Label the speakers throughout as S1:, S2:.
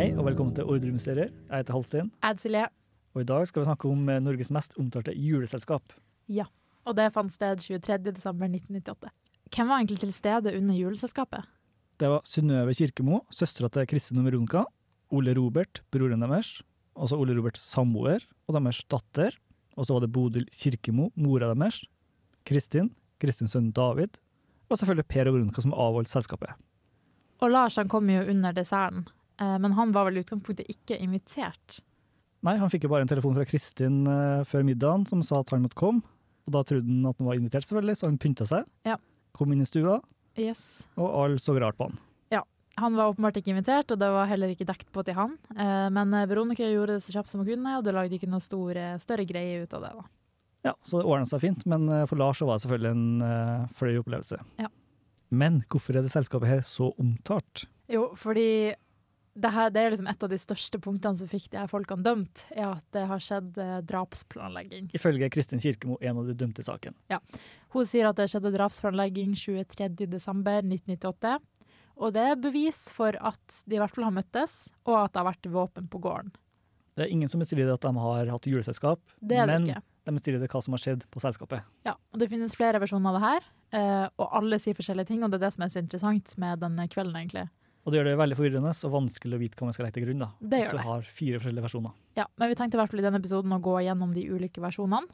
S1: Hei og velkommen til Ordreministerier. Jeg heter Halstein,
S2: Ad Silje.
S1: og i dag skal vi snakke om eh, Norges mest omtalte juleselskap.
S2: Ja. Og det fant sted 23.12.1998. Hvem var egentlig til stede under juleselskapet?
S1: Det var Synnøve Kirkemo, søstera til Kristin og Veronica, Ole Robert, broren deres, og så Ole Roberts samboer og deres datter, og så var det Bodil Kirkemo, mora deres, Kristin, Kristins sønn David, og selvfølgelig Per og Veronica som avholdt selskapet.
S2: Og Lars han kom jo under desserten, eh, men han var vel i utgangspunktet ikke invitert.
S1: Nei, han fikk jo bare en telefon fra Kristin eh, før middagen som sa at han måtte komme, og da trodde han at han var invitert selvfølgelig, så han pynta seg,
S2: Ja.
S1: kom inn i stua,
S2: Yes.
S1: og alle så rart på han.
S2: Han var åpenbart ikke invitert, og det var heller ikke dekt på til han. Eh, Men eh, Veronica gjorde det så kjapt som hun kunne, og det lagde ikke noe store, større greie ut av det. da.
S1: Ja, så det ordna seg fint, men eh, for Lars så var det selvfølgelig en eh, fløy opplevelse.
S2: Ja.
S1: Men hvorfor er det selskapet her så omtalt?
S2: Jo, fordi det, her, det er liksom et av de største punktene som fikk de her folkene dømt, er at det har skjedd eh, drapsplanlegging.
S1: Ifølge Kristin Kirkemo, en av de dømte i saken.
S2: Hun sier at det skjedde drapsplanlegging 23.12.1998. Og det er bevis for at de i hvert fall har møttes, og at det har vært våpen på gården.
S1: Det er ingen som bestrider at de har hatt juleselskap,
S2: Det er det
S1: men
S2: ikke.
S1: de bestrider hva som har skjedd på selskapet.
S2: Ja, og Det finnes flere versjoner av det her, eh, og alle sier forskjellige ting. Og det er det som er så interessant med denne kvelden, egentlig.
S1: Og det gjør det veldig forvirrende og vanskelig å vite hva man skal legge til grunn. da.
S2: Det gjør
S1: At
S2: det.
S1: du har fire forskjellige versjoner.
S2: Ja, Men vi tenkte i hvert fall i denne episoden å gå gjennom de ulike versjonene.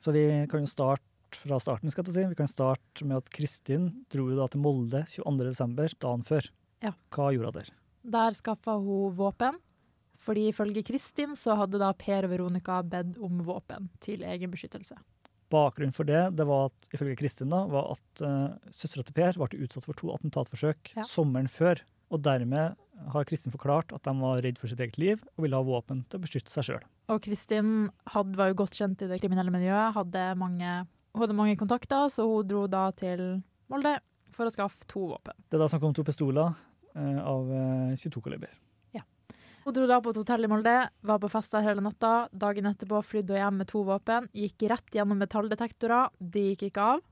S1: Så vi kan jo starte fra starten, skal jeg til å si. Vi kan starte med at Kristin dro jo da til Molde 22.12., dagen før.
S2: Ja.
S1: Hva gjorde hun der?
S2: Der skaffa hun våpen, fordi ifølge Kristin så hadde da Per og Veronica bedt om våpen til egen beskyttelse.
S1: Bakgrunnen for det, det var at, ifølge Kristin da, var at uh, søstera til Per ble utsatt for to attentatforsøk
S2: Ja.
S1: sommeren før. Og dermed har Kristin forklart at de var redd for sitt eget liv og ville ha våpen til å beskytte seg sjøl.
S2: Og Kristin hadde, var jo godt kjent i det kriminelle miljøet, hadde mange, hun hadde mange kontakter, så hun dro da til Molde for å skaffe to våpen.
S1: Det er da snakk om to pistoler eh, av eh, 22-kaliber.
S2: Hun dro da på et hotell i Molde, var på fest der hele natta. Dagen etterpå flydde hun hjem med to våpen, gikk rett gjennom metalldetektorer. De gikk ikke av.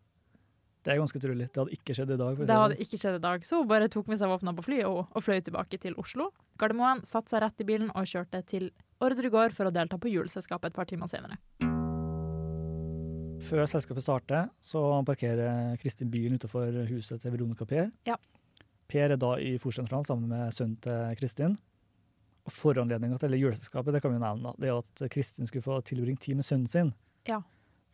S1: Det er ganske utrolig. Det hadde ikke skjedd i dag. For å si
S2: Det hadde
S1: sånn.
S2: ikke skjedd i dag, så hun bare tok med seg våpnene på flyet og, og fløy tilbake til Oslo. Gardermoen satte seg rett i bilen og kjørte til Ordregård for å delta på juleselskapet et par timer senere.
S1: Før selskapet starter, så parkerer Kristin bilen utenfor huset til Veronica Per.
S2: Ja.
S1: Per er da i Forsentralen sammen med sønnen til Kristin. Og Foranledninga til hele juleselskapet det kan vi jo nevne, da, det er at Kristin skulle få tilbringe tid med sønnen sin.
S2: Ja.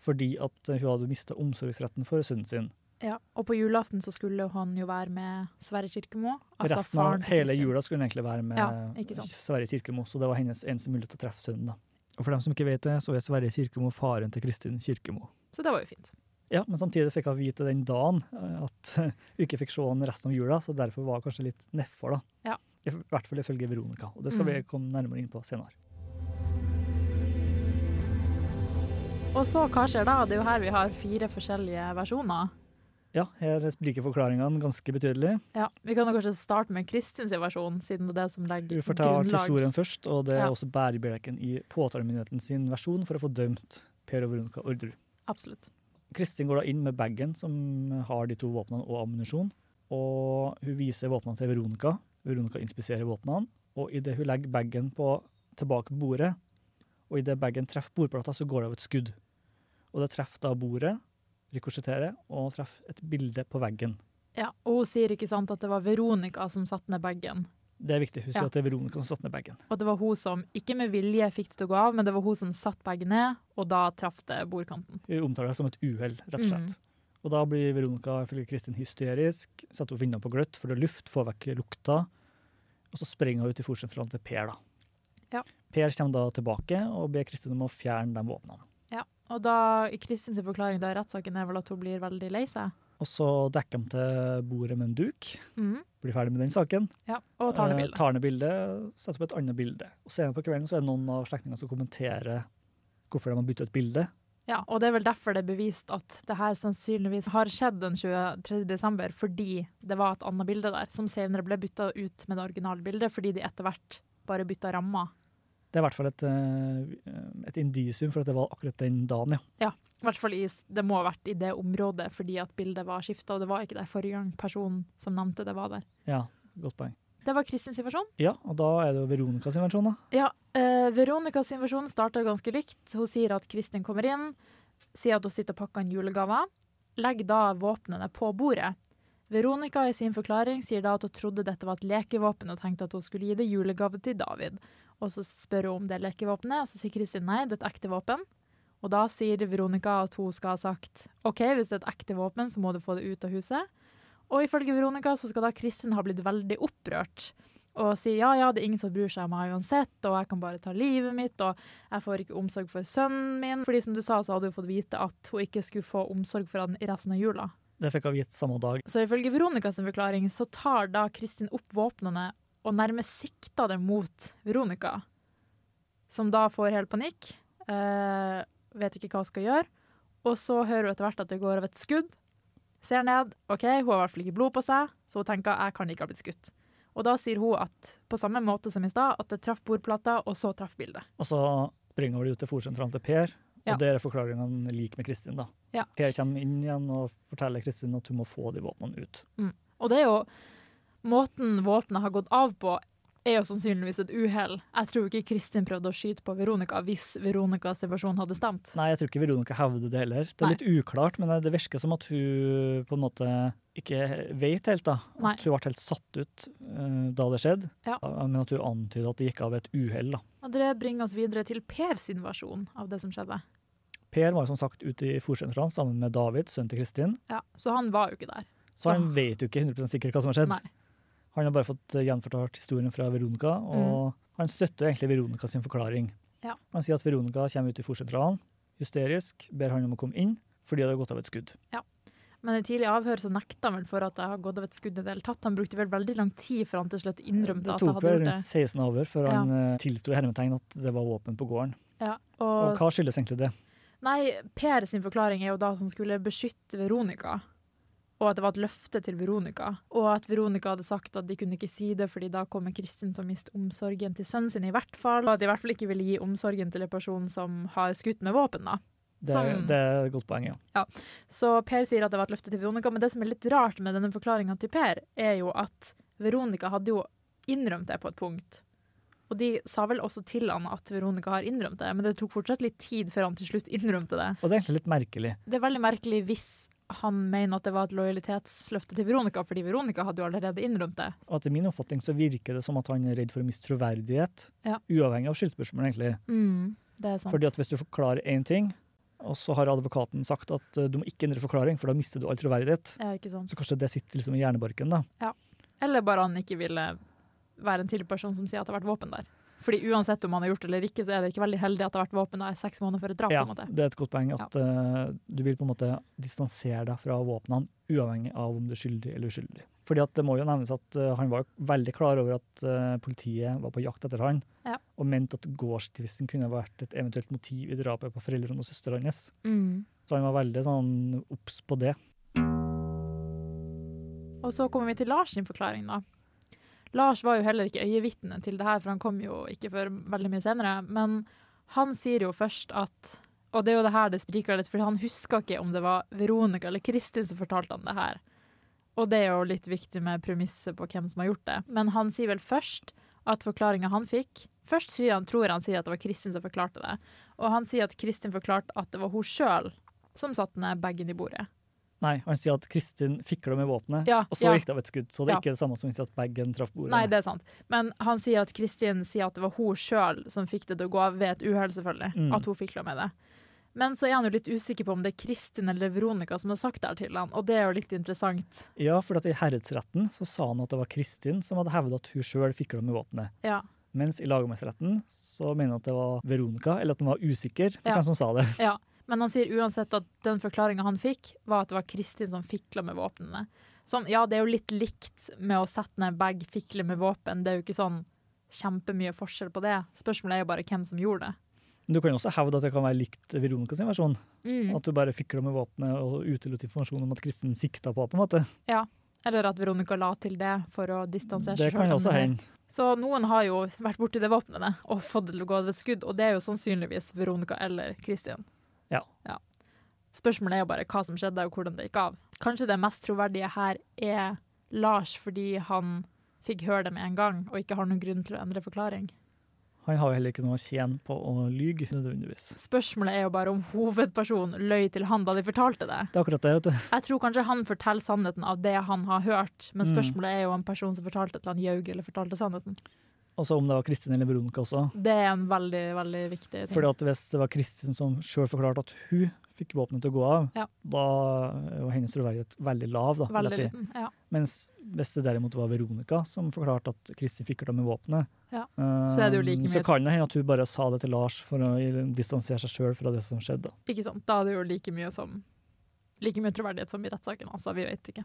S1: Fordi at hun hadde mista omsorgsretten for sønnen sin.
S2: Ja, og på julaften så skulle han jo være med Sverre Kirkemo. altså
S1: Resten av
S2: faren til
S1: hele
S2: Kristin.
S1: jula skulle hun egentlig være med
S2: Ja, ikke sant.
S1: Sverre Kirkemo, så det var hennes eneste mulighet til å treffe sønnen. da. Og For dem som ikke vet det, så er Sverre Kirkemo faren til Kristin Kirkemo.
S2: Så det var jo fint.
S1: Ja, men samtidig fikk jeg vite den dagen eh, at hun ikke fikk se han resten av jula, så derfor var hun kanskje litt nedfor, da.
S2: Ja. Mm.
S1: I hvert fall ifølge Veronica, og det skal vi komme nærmere inn på senere.
S2: Og så hva skjer da? Det er jo her vi har fire forskjellige versjoner.
S1: Ja, her spriker forklaringene ganske betydelig.
S2: Ja, Vi kan jo kanskje starte med Kristins versjon, siden det er det som
S1: Du
S2: legger
S1: fortalte
S2: grunnlag.
S1: historien først, og det er
S2: Ja.
S1: også bærebjelken i påtalemyndigheten sin versjon for å få dømt Per og Veronica Orderud.
S2: Absolutt.
S1: Kristin går da inn med bagen som har de to våpnene og ammunisjon, og hun viser våpnene til Veronica. Veronica inspiserer våpnene, og idet hun legger bagen på, tilbake på bordet, og idet bagen treffer bordplata, så går det av et skudd. Og det treffer da bordet, rikosjettere og treffe et bilde på veggen.
S2: Ja, og hun sier ikke sant at det var Veronica som satte ned bagen.
S1: Det er viktig. Husk
S2: Ja.
S1: at det er Veronica som satte ned bagen.
S2: Og det var hun som, ikke med vilje, fikk det til å gå av, men det var hun som satt bagen ned, og da traff det bordkanten.
S1: Vi omtaler det som et uhell, rett og slett.
S2: Mm.
S1: Og da blir Veronica ifølge Kristin hysterisk, setter hun vinduene på gløtt for å lufte, få vekk lukta, og så springer hun ut i fòrsentralen til Per, da.
S2: Ja.
S1: Per kommer da tilbake og ber Kristin om å fjerne de våpnene.
S2: Ja, og da, i Kristins forklaring da i rettssaken er vel at hun blir veldig lei seg.
S1: Og så dekker de til bordet med en duk,
S2: Mhm.
S1: blir ferdig med den saken.
S2: Ja, og tar ned
S1: Eh,
S2: bildet.
S1: Tar ned bildet, setter opp et annet bilde. Og senere på kvelden så er det noen av slektningene som kommenterer hvorfor de har byttet ut bilde.
S2: Ja, og det er vel derfor det er bevist at det her sannsynligvis har skjedd den 23. desember, fordi det var et annet bilde der, som senere ble bytta ut med det originale bildet, fordi de etter hvert bare bytta ramma.
S1: Det er i hvert fall et, eh, et indisium for at det var akkurat den dagen, ja.
S2: Ja, i hvert fall i, s- det må ha vært i det området, fordi at bildet var skifta, og det var ikke der forrige gang personen som nevnte det, var der.
S1: Ja, godt poeng.
S2: Det var Kristins versjon.
S1: Ja, og da er det jo Veronicas versjon, da.
S2: Ja, eh, Veronicas versjon starter ganske likt. Hun sier at Kristin kommer inn, sier at hun sitter og pakker en julegave, legger da våpnene på bordet. Veronica i sin forklaring sier da at hun trodde dette var et lekevåpen og tenkte at hun skulle gi det julegave til David. Og så spør hun om det er lekevåpenet, og så sier Kristin nei, det er et ekte våpen. Og da sier Veronica at hun skal ha sagt OK, hvis det er et ekte våpen, så må du få det ut av huset. Og ifølge Veronica så skal da Kristin ha blitt veldig opprørt og sier ja, ja, det er ingen som bryr seg om meg uansett, og jeg kan bare ta livet mitt, og jeg får ikke omsorg for sønnen min. Fordi som du sa, så hadde hun fått vite at hun ikke skulle få omsorg for han i resten av jula.
S1: Det fikk hun gitt samme dag.
S2: Så ifølge Veronicas forklaring så tar da Kristin opp våpnene og nærmest sikter det mot Veronica, som da får helt panikk, eh, vet ikke hva hun skal gjøre, og så hører hun etter hvert at det går av et skudd, ser ned, ok, hun har i hvert fall ikke blod på seg, så hun tenker jeg kan ikke ha blitt skutt. Og da sier hun at på samme måte som i stad, at det traff bordplata, og så traff bildet.
S1: Og så bringer hun det ut til fòrsentralen til Per, og
S2: Ja.
S1: der er forklaringen lik med Kristin, da.
S2: Ja.
S1: Per kommer inn igjen og forteller Kristin at hun må få de våpnene ut.
S2: Og det er jo Måten våpenet har gått av på, er jo sannsynligvis et uhell. Jeg tror ikke Kristin prøvde å skyte på Veronica hvis Veronicas versjon hadde stemt.
S1: Nei, jeg tror ikke Veronica hevder det heller. Det er
S2: Nei.
S1: litt uklart, men det virker som at hun på en måte ikke vet helt, da. At
S2: Nei.
S1: hun ble helt satt ut eh, da det skjedde,
S2: Ja.
S1: men at hun antydet at det gikk av et uhell, da.
S2: Og det bringer oss videre til Per sin versjon av det som skjedde.
S1: Per var jo som sagt ute i fòrsentralen sammen med David, sønnen til Kristin,
S2: Ja, så han var jo ikke der.
S1: så,
S2: Så-
S1: han vet jo ikke 100 sikkert hva som har skjedd.
S2: Nei.
S1: Han har bare fått eh, gjenfortalt historien fra Veronica, og han støtter egentlig Veronica sin forklaring.
S2: Mm. Ja.
S1: Han sier at Veronica kommer ut i fòrsentralen, hysterisk, ber han om å komme inn, fordi det har gått av et skudd.
S2: Men i tidlig avhør så nekta han vel for at det har gått av et skudd i det hele tatt. Han brukte vel veldig lang tid før han til slutt innrømte
S1: Det
S2: at han
S1: tok
S2: hadde
S1: vel
S2: gjort det.
S1: rundt 16 over før
S2: Ja.
S1: han eh, tilsto i hermetegn at det var våpen på gården.
S2: Ja,
S1: Og
S2: og,
S1: hva skyldes egentlig det?
S2: Nei, Per sin forklaring er jo da at han skulle beskytte Veronica. Og at det var et løfte til Veronica. Og at Veronica hadde sagt at de kunne ikke si det, fordi da kommer Kristin til å miste omsorgen til sønnen sin, i hvert fall. Og at de i hvert fall ikke ville gi omsorgen til en person som har skutt med våpen, da.
S1: Det, er-
S2: Som-
S1: det er et godt poeng, ja.
S2: Så Per sier at det var et løfte til Veronica, men det som er litt rart med denne forklaringa til Per, er jo at Veronica hadde jo innrømt det på et punkt. Og de sa vel også til han at Veronica har innrømt det, men det tok fortsatt litt tid før han til slutt innrømte det.
S1: Og det er egentlig litt merkelig.
S2: Det er veldig merkelig hvis han mener at det var et lojalitetsløfte til Veronica, fordi Veronica hadde jo allerede innrømt det.
S1: Og etter min oppfatning så virker det som at han er redd for å miste troverdighet,
S2: Ja.
S1: uavhengig av skyldspørsmålet, egentlig.
S2: Mm, det er sant.
S1: Fordi at hvis du forklarer én ting, og så har advokaten sagt at eh, du må ikke endre forklaring, for da mister du all troverdighet,
S2: ja, ikke sant.
S1: så kanskje det sitter liksom i hjernebarken, da.
S2: Eller bare han ikke ville være en til person som sier at det har vært våpen der. Fordi uansett om han har gjort det eller ikke, så er det ikke veldig heldig at det har vært våpen der seks måneder før et drap.
S1: Ja,
S2: på en måte.
S1: det er et godt poeng at eh, du vil på en måte distansere deg fra våpnene, uavhengig av om du er skyldig eller uskyldig. Fordi at det må jo nevnes at eh, han var jo veldig klar over at eh, politiet var på jakt etter han,
S2: Ja.
S1: og mente at gårdstvisten kunne vært et eventuelt motiv i drapet på foreldrene og søsteren hans.
S2: Mm.
S1: Så han var veldig sånn obs på det.
S2: Og så kommer vi til Lars sin forklaring, da. Lars var jo heller ikke øyevitne til det her, for han kom jo ikke før veldig mye senere. Men han sier jo først at Og det er jo det her det spriker litt, for han huska ikke om det var Veronica eller Kristin som fortalte han det her. Og det er jo litt viktig med premisset på hvem som har gjort det. Men han sier vel først at forklaringa han fikk Først sier han, tror han sier at det var Kristin som forklarte det. Og han sier at Kristin forklarte at det var hun sjøl som satte ned bagen i bordet.
S1: Nei, han sier at Kristin fikla med våpenet,
S2: Ja,
S1: og så
S2: ja.
S1: gikk det av et skudd. Så det er
S2: Ja.
S1: ikke det samme som å si at bagen traff bordet.
S2: Nei, det er sant. Men han sier at Kristin sier at det var hun sjøl som fikk det til å gå av ved et uhell, selvfølgelig.
S1: Mm.
S2: At hun fikla med det. Men så er han jo litt usikker på om det er Kristin eller Veronica som har sagt det her til han, og det er jo litt interessant.
S1: Ja, for at i herredsretten så sa han at det var Kristin som hadde hevda at hun sjøl fikla med våpenet.
S2: Ja.
S1: Mens i lagmannsretten så mener han at det var Veronica, eller at han var usikker på
S2: Ja.
S1: hvem som sa det.
S2: ja. Men han sier uansett at den forklaringa han fikk, var at det var Kristin som fikla med våpnene. Som, ja, det er jo litt likt med å sette ned bag, fikle med våpen. Det er jo ikke sånn kjempemye forskjell på det. Spørsmålet er jo bare hvem som gjorde det.
S1: Men du kan jo også hevde at det kan være likt Veronica sin versjon. At du bare fikla med våpenet og utelot informasjon om at Kristin sikta på henne, på en måte.
S2: Ja. Eller at Veronica la til det for å distansere
S1: Det
S2: seg.
S1: kan
S2: selv
S1: jo
S2: om
S1: også
S2: det-
S1: hende.
S2: Så noen har jo vært borti det våpenet og fått det til å gå over et skudd, og det er jo sannsynligvis Veronica eller Kristin.
S1: Ja.
S2: Spørsmålet er jo bare hva som skjedde, og hvordan det gikk av. Kanskje det mest troverdige her er Lars fordi han fikk høre det med en gang, og ikke har noen grunn til å endre forklaring.
S1: Han har jo heller ikke noe å tjene på å lyge, nødvendigvis.
S2: Spørsmålet er jo bare om hovedpersonen løy til han da de fortalte det.
S1: Det er akkurat det, vet du.
S2: Jeg tror kanskje han forteller sannheten av det han har hørt, men
S1: Mm.
S2: spørsmålet er jo om personen som fortalte et eller annet, ljaug eller fortalte sannheten.
S1: Også om det var Kristin eller Veronica også.
S2: Det er en veldig, veldig viktig ting.
S1: Fordi at hvis det var Kristin som sjøl forklarte at hun fikk våpenet til å gå av,
S2: Ja.
S1: da var hennes troverdighet veldig lav. Da, vil
S2: veldig
S1: jeg si.
S2: liten. Ja.
S1: Mens hvis det derimot var Veronica som forklarte at Kristin fikk det med våpenet,
S2: Ja.
S1: eh,
S2: Så er det jo like
S1: så
S2: mye-
S1: kan det hende at hun bare sa det til Lars for å distansere seg sjøl fra det som skjedde. da.
S2: Ikke sant? Da er det jo like mye, som, like mye troverdighet som i rettssaken. Altså, vi vet ikke.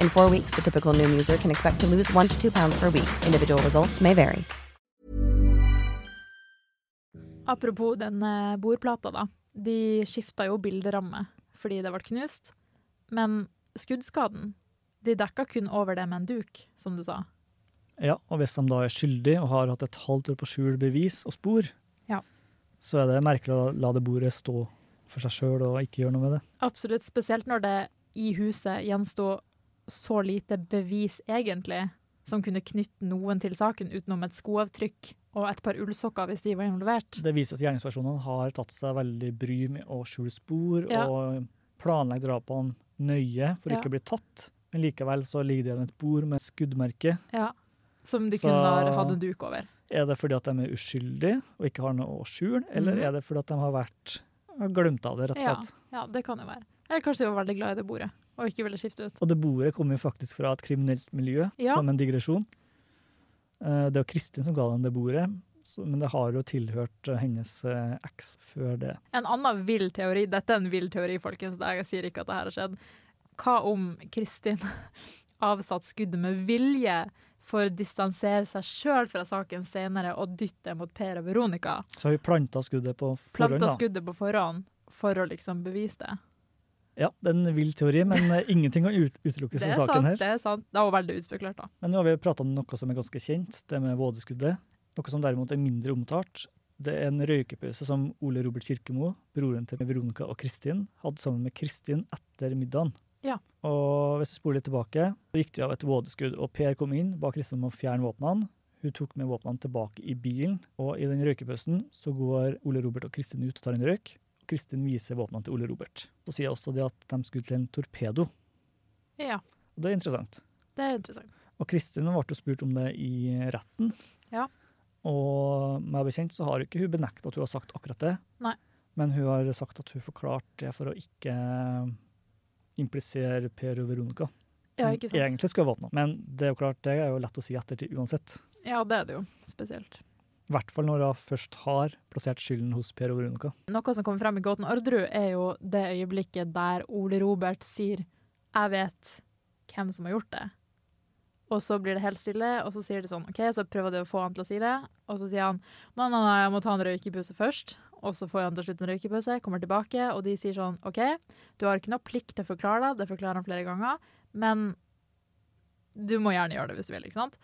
S3: In four weeks, the typical Noom user can expect to lose one to two pounds per week. Individual results may vary.
S2: Apropos den eh, bordplata, da. De skifta jo bilderamme fordi det ble knust. Men skuddskaden De dekka kun over det med en duk, som du sa.
S1: Ja, og hvis de da er skyldige og har hatt et halvt år på skjul bevis og spor,
S2: Ja.
S1: så er det merkelig å la det bordet stå for seg sjøl og ikke gjøre noe med det.
S2: Absolutt. Spesielt når det i huset gjensto så lite bevis, egentlig, som kunne knytte noen til saken, utenom et skoavtrykk og et par ullsokker hvis de var involvert.
S1: Det viser at gjerningspersonene har tatt seg veldig bry med å skjule spor
S2: Ja.
S1: og planlegge drapene nøye for
S2: Ja.
S1: ikke å bli tatt. Men likevel så ligger det igjen et bord med skuddmerke.
S2: Ja. Som de
S1: Så-
S2: kunne ha hatt en duk over.
S1: Er det fordi at de er uskyldige og ikke har noe å skjule, eller
S2: Mhm.
S1: er det fordi at de har vært har glemt av det, rett og
S2: Ja,
S1: slett?
S2: ja, det kan jo være. Eller kanskje de var veldig glad i det bordet og ikke ville skifte ut.
S1: Og det bordet kommer jo faktisk fra et kriminelt miljø,
S2: Ja.
S1: som en digresjon. Eh, Det var Kristin som ga dem det bordet, så, men det har jo tilhørt eh, hennes eh, eks før det.
S2: En annen vill teori, dette er en vill teori, folkens, det- jeg sier ikke at det her har skjedd. Hva om Kristin avsatt skuddet med vilje for å distansere seg sjøl fra saken senere og dytte det mot Per og Veronica?
S1: Så har vi planta skuddet på forhånd,
S2: Planta
S1: da.
S2: skuddet på forhånd for å liksom bevise det.
S1: Ja, det er en vill teori, men eh, ingenting kan ut utelukkes
S2: Det
S1: i
S2: er
S1: saken
S2: sant.
S1: her.
S2: det er sant. Det var veldig utspekulert, da.
S1: Men nå har vi prata om noe som er ganske kjent, det med vådeskuddet. Noe som derimot er mindre omtalt. Det er en røykepause som Ole Robert Kirkemo, broren til Veronica og Kristin, hadde sammen med Kristin etter middagen.
S2: Ja.
S1: Og hvis vi spoler litt tilbake, så gikk det av et vådeskudd, og Per kom inn, ba Kristin om å fjerne våpnene. Hun tok med våpnene tilbake i bilen, og i den røykepausen så går Ole Robert og Kristin ut og tar en røyk. Og Kristin viser våpnene til Ole Robert. Så sier også det at de skulle til en torpedo.
S2: Ja,
S1: Og det er interessant.
S2: det er interessant.
S1: Og Kristin ble jo spurt om det i retten.
S2: Ja.
S1: Og meg bekjent så har ikke hun benekta at hun har sagt akkurat det.
S2: Nei.
S1: Men hun har sagt at hun forklarte det for å ikke eh, implisere Per og Veronica.
S2: Ja,
S1: som
S2: ikke sant.
S1: Egentlig skulle ha våpna, men det er jo klart, det er jo lett å si i ettertid uansett.
S2: Ja, det er det jo. Spesielt.
S1: I hvert fall når hun først har plassert skylden hos Per og Veronica.
S2: Noe som kommer frem i Gåten Orderud, er jo det øyeblikket der Ole Robert sier 'jeg vet hvem som har gjort det'. Og så blir det helt stille, og så sier de sånn OK, så prøver de å få han til å si det. Og så sier han nei, nei, nei, jeg må ta en røykepause først. Og så får han til slutt en røykepause, kommer tilbake, og de sier sånn OK, du har ikke noe plikt til å forklare deg, det forklarer han flere ganger, men du må gjerne gjøre det hvis du vil, ikke sant?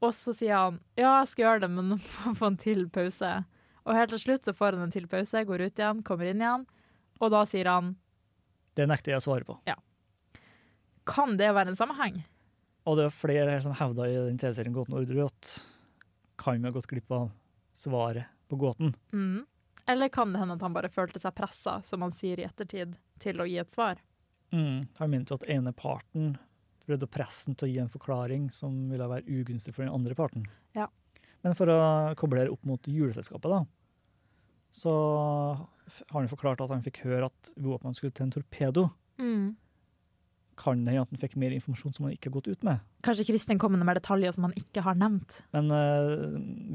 S2: Og så sier han ja, jeg skal gjøre det, men nå må jeg få en til pause. Og helt til slutt så får han en til pause, går ut igjen, kommer inn igjen. Og da sier han
S1: Det nekter jeg å svare på.
S2: Kan det være en sammenheng?
S1: Og det er flere her som hevda i den TV-serien Gåten Orderud at kan vi ha gått glipp av svaret på gåten?
S2: Mm. Eller kan det hende at han bare følte seg pressa, som han sier i ettertid, til å gi et svar?
S1: Mm. Han mente jo at ene parten prøvde å presse den til å gi en forklaring som ville være ugunstig for den andre parten.
S2: Ja.
S1: Men for å koble det opp mot juleselskapet, da, så f- har han forklart at han fikk høre at våpnene skulle til en torpedo.
S2: Mm.
S1: Kan det hende at han fikk mer informasjon som han ikke har gått ut med?
S2: Kanskje Kristin kommer med detaljer som han ikke har nevnt.
S1: Men eh,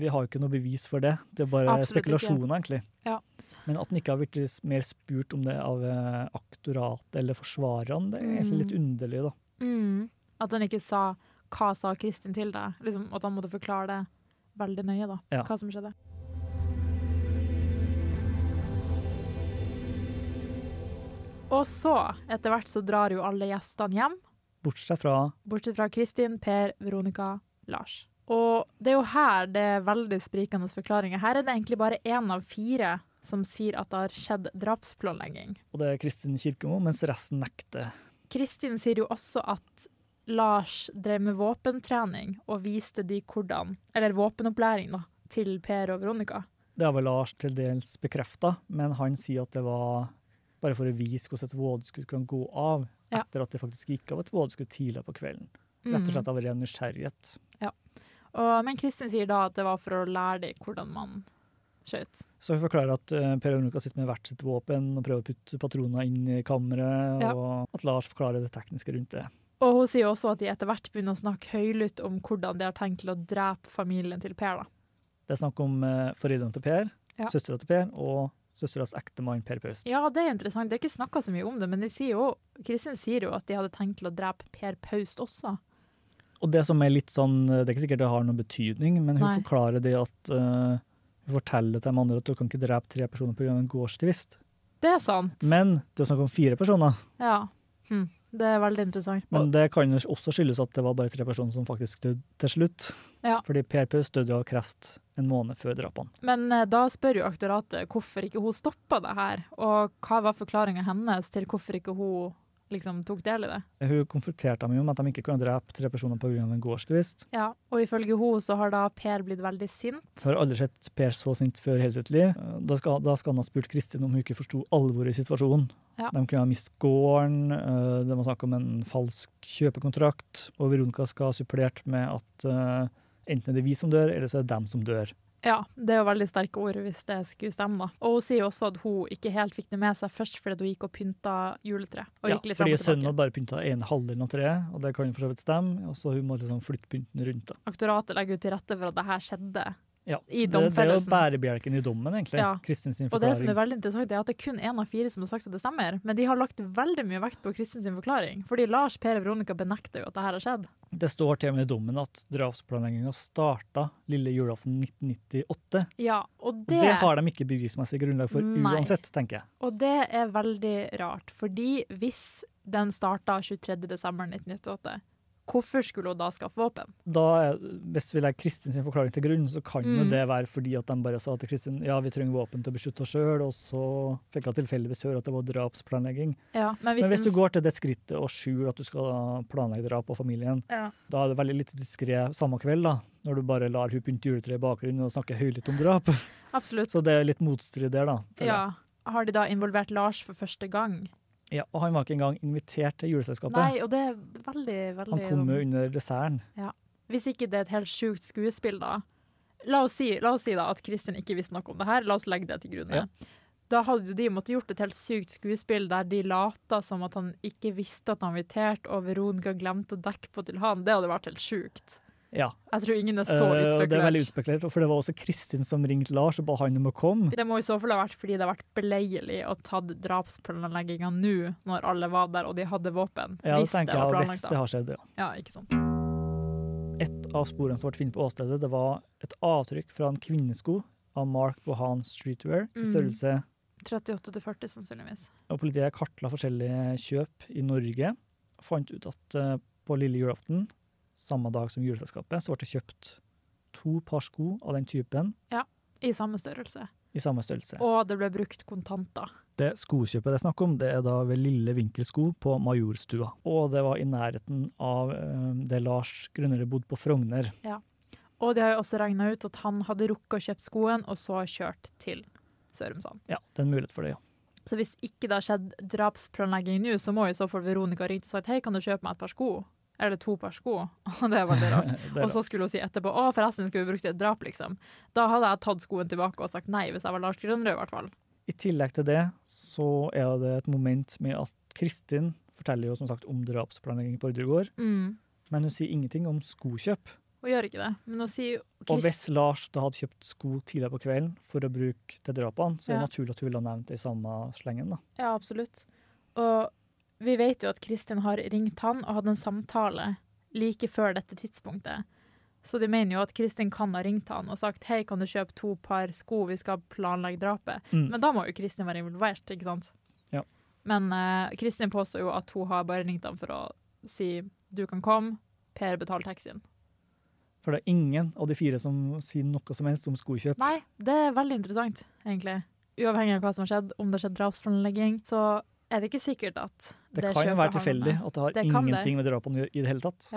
S1: vi har jo ikke noe bevis for det. Det er bare
S2: Absolutt ikke.
S1: spekulasjoner, egentlig.
S2: Ja.
S1: Men at han ikke har blitt s- mer spurt om det av eh, aktoratet eller forsvarerne, det
S2: Mm.
S1: er egentlig litt underlig, da.
S2: At han ikke sa 'hva sa Kristin til deg'? Liksom, at han måtte forklare det veldig nøye, da.
S1: Ja.
S2: Hva som skjedde. Og så, etter hvert, så drar jo alle gjestene hjem.
S1: Bortsett fra
S2: Bortsett fra Kristin, Per, Veronica, Lars. Og det er jo her det er veldig sprikende forklaringer. Her er det egentlig bare én av fire som sier at det har skjedd drapsplanlegging.
S1: og det er Kristin Kirkemo, mens resten nekter.
S2: Kristin sier jo også at Lars drev med våpentrening og viste de hvordan Eller våpenopplæring, da, til Per og Veronica.
S1: Det har vel Lars til dels bekrefta, men han sier at det var bare for å vise hvordan et vådeskudd kan gå av,
S2: Ja. Mm.
S1: etter at det faktisk gikk av et vådeskudd tidligere på kvelden. Rett og slett av ren nysgjerrighet.
S2: Og, men Kristin sier da at det var for å lære dem hvordan man skjøt.
S1: Så hun forklarer at eh, Per og Veronica sitter med hvert sitt våpen og prøver å putte patroner inn i kammeret,
S2: Ja.
S1: og at Lars forklarer det tekniske rundt det.
S2: Og hun sier også at de etter hvert begynner å snakke høylytt om hvordan de har tenkt til å drepe familien til Per. da.
S1: Det er snakk om eh, foreldrene til Per,
S2: Ja.
S1: søstera til Per og søsteras ektemann Per Paust.
S2: Ja, det er interessant. Det er ikke snakka så mye om det, men de sier jo, Kristin sier jo at de hadde tenkt til å drepe Per Paust også.
S1: Og det som er litt sånn, det er ikke sikkert det har noen betydning, men hun
S2: Nei.
S1: forklarer det at eh, hun forteller til de andre at du kan ikke drepe tre personer pga. en gårdstvist.
S2: Det er sant.
S1: Men det er snakk om fire personer.
S2: Ja. Hm. Det er veldig interessant.
S1: Men det kan jo også skyldes at det var bare tre personer som faktisk døde til slutt.
S2: Ja.
S1: Fordi Per Paus døde av kreft en måned før drapene.
S2: Men eh, da spør jo aktoratet hvorfor ikke hun stoppa det her, og hva var forklaringa hennes til hvorfor ikke hun liksom tok del i det?
S1: Hun konfronterte dem jo med at de ikke kunne drepe tre personer pga. en gårdstvist.
S2: Ja, Og ifølge hun så har da Per blitt veldig sint.
S1: Jeg har aldri sett Per så sint før i hele sitt liv. Eh, Da skal, da skal han ha spurt Kristin om hun ikke forsto alvoret i situasjonen.
S2: Ja.
S1: De kunne ha mistet gården, eh, det var snakk om en falsk kjøpekontrakt, og Veronica skal ha supplert med at eh, enten er det vi som dør, eller så er det dem som dør.
S2: Ja, det er jo veldig sterke ord hvis det skulle stemme, da. Og hun sier jo også at hun ikke helt fikk det med seg først fordi hun gikk og pynta juletreet. Og
S1: Ja,
S2: gikk litt fram
S1: fordi
S2: og tilbake.
S1: sønnen hadde bare pynta ene halvdelen av treet, og det kan jo for så vidt stemme, og så hun må liksom flytte pynten rundt. da.
S2: aktoratet legger jo til rette for at det her skjedde
S1: Ja.
S2: I
S1: det, det er jo
S2: domfellelsen.
S1: bærebjelken i dommen, egentlig.
S2: Ja.
S1: Kristins
S2: Og det som
S1: forklaring.
S2: er veldig interessant, er at det er kun én av fire som har sagt at det stemmer. Men de har lagt veldig mye vekt på Kristins forklaring. Fordi Lars, Per og Veronica benekter jo at det her har skjedd.
S1: Det står til og med i dommen at drapsplanlegginga starta lille julaften 1998.
S2: Ja, og
S1: Og
S2: det,
S1: det har de ikke bevismessig grunnlag for
S2: Nei.
S1: uansett, tenker jeg.
S2: og det er veldig rart. Fordi hvis den starta 23.12.1998, hvorfor skulle hun da skaffe våpen?
S1: Da er, hvis vi legger Kristins forklaring til grunn, så kan jo
S2: Mm.
S1: det være fordi at de bare sa til Kristin ja, vi trenger våpen til å beskytte oss sjøl, og så fikk hun tilfeldigvis høre at det var drapsplanlegging.
S2: Ja, men hvis,
S1: Men hvis
S2: den-
S1: du går til det skrittet og skjuler at du skal planlegge drap på familien,
S2: ja.
S1: da er det veldig litt diskré samme kveld, da. Når du bare lar hun pynte juletreet i bakgrunnen og snakke høylytt om drap.
S2: Absolutt.
S1: Så det er litt motstrid der, da. føler jeg.
S2: Ja. Har de da involvert Lars for første gang?
S1: Ja, og han var ikke engang invitert til juleselskapet.
S2: Nei, og det er veldig, veldig
S1: han kom jo under desserten.
S2: Hvis ikke det er et helt sjukt skuespill, da. La oss si, la oss si da at Kristin ikke visste noe om det her, la oss legge det til grunne. Da hadde jo de måttet gjort et helt sykt skuespill der de lata som at han ikke visste at han var invitert, og Veronica glemte å dekke på til han. Det hadde vært helt sjukt.
S1: Ja,
S2: Jeg tror ingen er
S1: eh,
S2: så
S1: og det er veldig
S2: utspekulert.
S1: utspekulert. For det var også Kristin som ringte Lars og ba han om å komme.
S2: Det må i så fall ha vært fordi det har vært beleilig å tatt drapsplanlegginga nå, når alle var der og de hadde våpen.
S1: Ja, det
S2: hvis det
S1: tenker
S2: var
S1: jeg, hvis
S2: planlagt,
S1: det
S2: da.
S1: har skjedd, ja.
S2: Ja, ikke sant.
S1: Et av sporene som ble funnet på åstedet, det var et avtrykk fra en kvinnesko av Mark Bohan Streetwear i
S2: Mm.
S1: størrelse
S2: 38 til 40, sannsynligvis.
S1: og Politiet kartla forskjellige kjøp i Norge. Fant ut at eh, på lille julaften, samme dag som juleselskapet, så ble det kjøpt to par sko av den typen
S2: I samme størrelse.
S1: i samme størrelse.
S2: Og det ble brukt kontanter.
S1: Det skokjøpet det er snakk om, det er da ved Lille Vinkelsko på Majorstua. Og det var i nærheten av eh, det Lars Grønnerud bodde på Frogner.
S2: Og de har jo også regna ut at han hadde rukket å kjøpe skoen, og så kjørt til Sørumsand.
S1: Ja, det er en mulighet for det, ja.
S2: Så hvis ikke det har skjedd drapsplanlegging nå, så må i så fall Veronica ringt og sagt hei, kan du kjøpe meg et par sko? Eller to par sko. Og det er veldig rart.
S1: Det er
S2: Og så skulle hun si etterpå å forresten skulle vi brukt det i et drap, liksom. Da hadde jeg tatt skoen tilbake og sagt nei, hvis jeg var Lars Grønrød i hvert fall.
S1: I tillegg til det så er det et moment med at Kristin forteller jo som sagt om drapsplanlegging på Ordregård,
S2: Mm.
S1: men hun sier ingenting om skokjøp.
S2: Hun gjør ikke det. Men hun sier
S1: Og
S2: Chris,
S1: hvis Lars da hadde kjøpt sko tidligere på kvelden for å bruke til drapene, så er det
S2: Ja.
S1: naturlig at hun ville ha nevnt det i samme slengen. da.
S2: Ja, absolutt. Og vi vet jo at Kristin har ringt han og hatt en samtale like før dette tidspunktet. Så de mener jo at Kristin kan ha ringt han og sagt hei, kan du kjøpe to par sko, vi skal planlegge drapet.
S1: Mm.
S2: Men da må jo Kristin være involvert, ikke sant?
S1: Ja.
S2: Men eh, Kristin påstår jo at hun har bare ringt han for å si du kan komme, Per betaler taxien.
S1: For det er ingen av de fire som sier noe som helst om skokjøp.
S2: Nei, det er veldig interessant, egentlig. Uavhengig av hva som har skjedd, om det har skjedd drapsplanlegging, så er det ikke sikkert at
S1: det, kan
S2: det
S1: jo
S2: kjøpet
S1: være
S2: har noe med-
S1: tilfeldig at det har
S2: Det kan det.
S1: ingenting med drapene å gjøre i det hele tatt.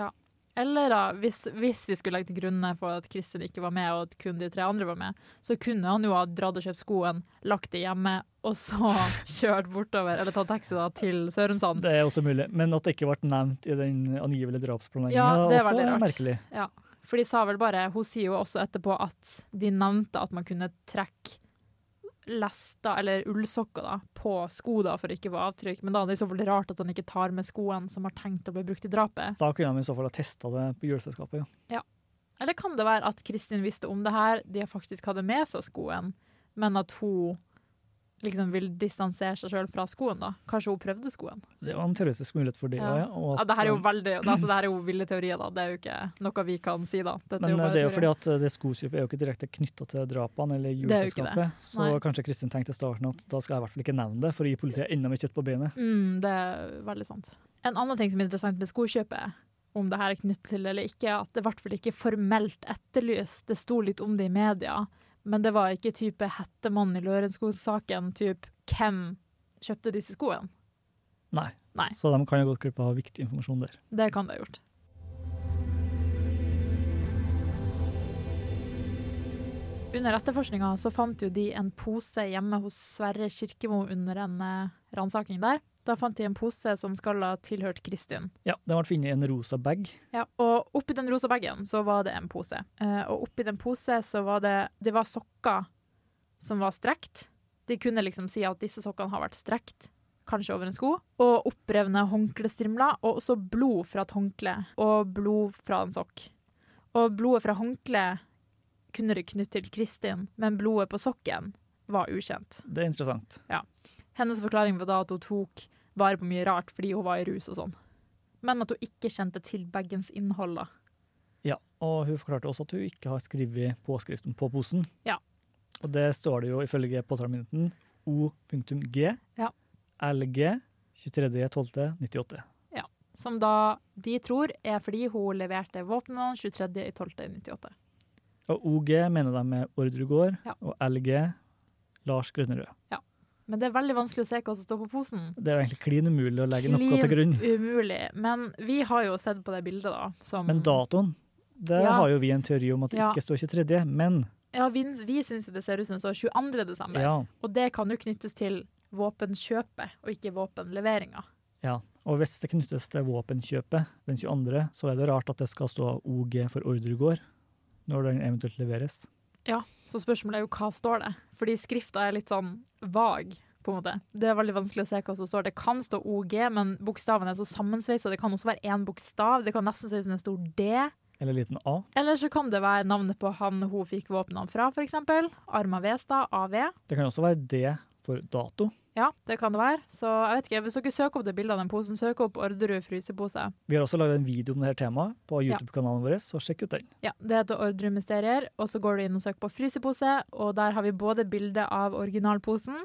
S2: Eller da, hvis, hvis vi skulle legge til grunne for at Kristin ikke var med, og at kun de tre andre var med, så kunne han jo ha dratt og kjøpt skoen, lagt det hjemme, og så kjørt bortover, eller tatt taxi da, til Sørumsand.
S1: Det er også mulig, men at det ikke ble nevnt i den angivelige drapsplanlegginga,
S2: Ja, det er
S1: også
S2: veldig rart.
S1: merkelig.
S2: For de sa vel bare, hun sier jo også etterpå at de nevnte at man kunne trekke lester, eller ullsokker da, på sko da, for å ikke få avtrykk, men da er det i så fall rart at han ikke tar med skoen som har tenkt å bli brukt i drapet.
S1: Da kunne de i så fall ha testa det på juleselskapet. Ja.
S2: Eller kan det være at Kristin visste om det her, de faktisk hadde med seg skoen, men at hun liksom vil distansere seg sjøl fra skoen, da? Kanskje hun prøvde skoen?
S1: Det var en teoretisk mulighet for det
S2: Ja.
S1: òg, ja. Og
S2: Ja,
S1: at,
S2: det her er jo veldig, altså, det her er jo ville teorier, da. Det er jo ikke noe vi kan si, da. Dette
S1: men
S2: bare
S1: det er jo
S2: teorier.
S1: fordi at eh, det skokjøpet er jo ikke direkte knytta til drapene eller
S2: Det er jo ikke det.
S1: juleselskapet, så
S2: Nei.
S1: kanskje Kristin tenkte i starten at da skal jeg i hvert fall ikke nevne det, for å gi politiet enda mer kjøtt på beinet.
S2: Mm, det er veldig sant. En annen ting som er interessant med skokjøpet, om det her er knyttet til det eller ikke, er at det i hvert fall ikke formelt etterlyst. Det sto litt om det i media, men det var ikke type hettemann i Lørenskog-saken, type hvem kjøpte disse skoene?
S1: Nei.
S2: Nei.
S1: Så de kan jo gått glipp av viktig informasjon der.
S2: Det kan det ha gjort. Under etterforskninga så fant jo de en pose hjemme hos Sverre Kirkemo under en eh, ransaking der. Da fant de en pose som skal ha tilhørt Kristin.
S1: Ja, De ble funnet i en rosa bag.
S2: Ja, og oppi den rosa bagen så var det en pose. Eh, og oppi den pose så var det Det var sokker som var strekt. De kunne liksom si at disse sokkene har vært strekt, kanskje over en sko. Og opprevne håndklestrimler, og også blod fra et håndkle og blod fra en sokk. Og blodet fra håndkleet kunne det knytt til Kristin, men blodet på sokken var ukjent.
S1: Det er interessant.
S2: Hennes forklaring var da at hun tok vare på mye rart fordi hun var i rus og sånn. Men at hun ikke kjente til bagens innhold. da.
S1: Ja, og hun forklarte også at hun ikke har skrevet påskriften på posen.
S2: Ja.
S1: Og det står det jo ifølge påtaleminuten O.G.
S2: Ja.
S1: LG 23.12.98.
S2: Som da de tror er fordi hun leverte våpnene 23.12.98.
S1: Og OG mener de er Ordregård,
S2: Ja.
S1: og LG Lars Grønnerød.
S2: Men det er veldig vanskelig å se hva som står på posen.
S1: Det er jo egentlig klin umulig å legge noe til grunn.
S2: Klin umulig. Men vi har jo sett på det bildet, da. Som,
S1: Men datoen, der
S2: Ja.
S1: har jo vi en teori om at det
S2: Ja.
S1: ikke står 23., men
S2: Ja, vi, vi syns jo det ser ut som det står 22. desember.
S1: ja.
S2: Og det kan jo knyttes til våpenkjøpet, og ikke våpenleveringa.
S1: ja. Og hvis det knyttes til våpenkjøpet den 22., så er det rart at det skal stå OG for Ordregård når den eventuelt leveres.
S2: Ja, så spørsmålet er jo hva står det? Fordi skrifta er litt sånn vag, på en måte. Det er veldig vanskelig å se hva som står. Det kan stå OG, men bokstavene er så sammensveisa. Det kan også være én bokstav. Det kan nesten se ut som en stor D.
S1: Eller liten A.
S2: Eller så kan det være navnet på han hun fikk våpnene fra, f.eks. Arma Vestad, AV.
S1: Det kan også være D for dato.
S2: Ja, det kan det være. Så jeg vet ikke, hvis dere søker opp det bildet av den posen, søk opp Orderud frysepose.
S1: Vi har også laget en video om dette temaet på
S2: Ja.
S1: YouTube-kanalen vår, så sjekk ut den.
S2: Ja, Det heter Ordre Mysterier, og så går du inn og søker på frysepose. og Der har vi både bilde av originalposen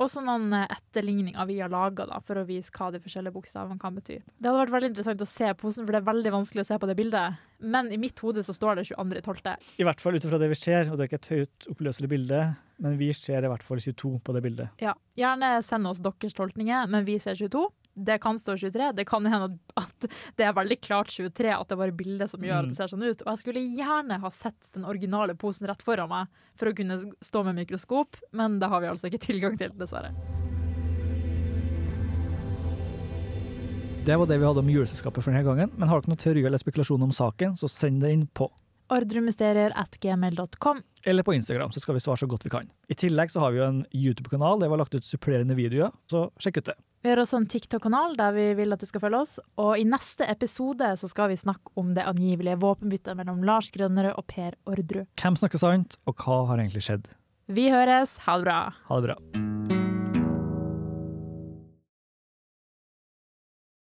S2: og så noen eh, etterligninger vi har laga for å vise hva de forskjellige bokstavene kan bety. Det hadde vært veldig interessant å se posen, for det er veldig vanskelig å se på det bildet. Men i mitt hode så står det 22.12.
S1: I hvert fall ut ifra det vi ser, og det er ikke et høyt oppløselig bilde, men vi ser i hvert fall 22 på det bildet.
S2: Ja, Gjerne send oss deres tolkninger, men vi ser 22. Det kan stå 23. Det kan hende at- at det er veldig klart 23, at det er bare bildet som gjør at det ser sånn ut. Og jeg skulle gjerne ha sett den originale posen rett foran meg for å kunne stå med mikroskop, men det har vi altså ikke tilgang til, dessverre.
S1: Det var det vi hadde om juleselskapet for denne gangen, men har dere noen teorier eller spekulasjoner om saken, så send det inn på
S2: Ordremysterier.gmail.com.
S1: eller på Instagram, så skal vi svare så godt vi kan. I tillegg så har vi jo en YouTube-kanal der vi har lagt ut supplerende videoer, så sjekk ut det.
S2: Vi har også en TikTok-kanal der vi vil at du skal følge oss. Og i neste episode så skal vi snakke om det angivelige våpenbyttet mellom Lars Grønnerød og Per Ordru.
S1: Hvem snakker sant, og hva har egentlig skjedd?
S2: Vi høres, ha det bra!
S1: Ha det bra.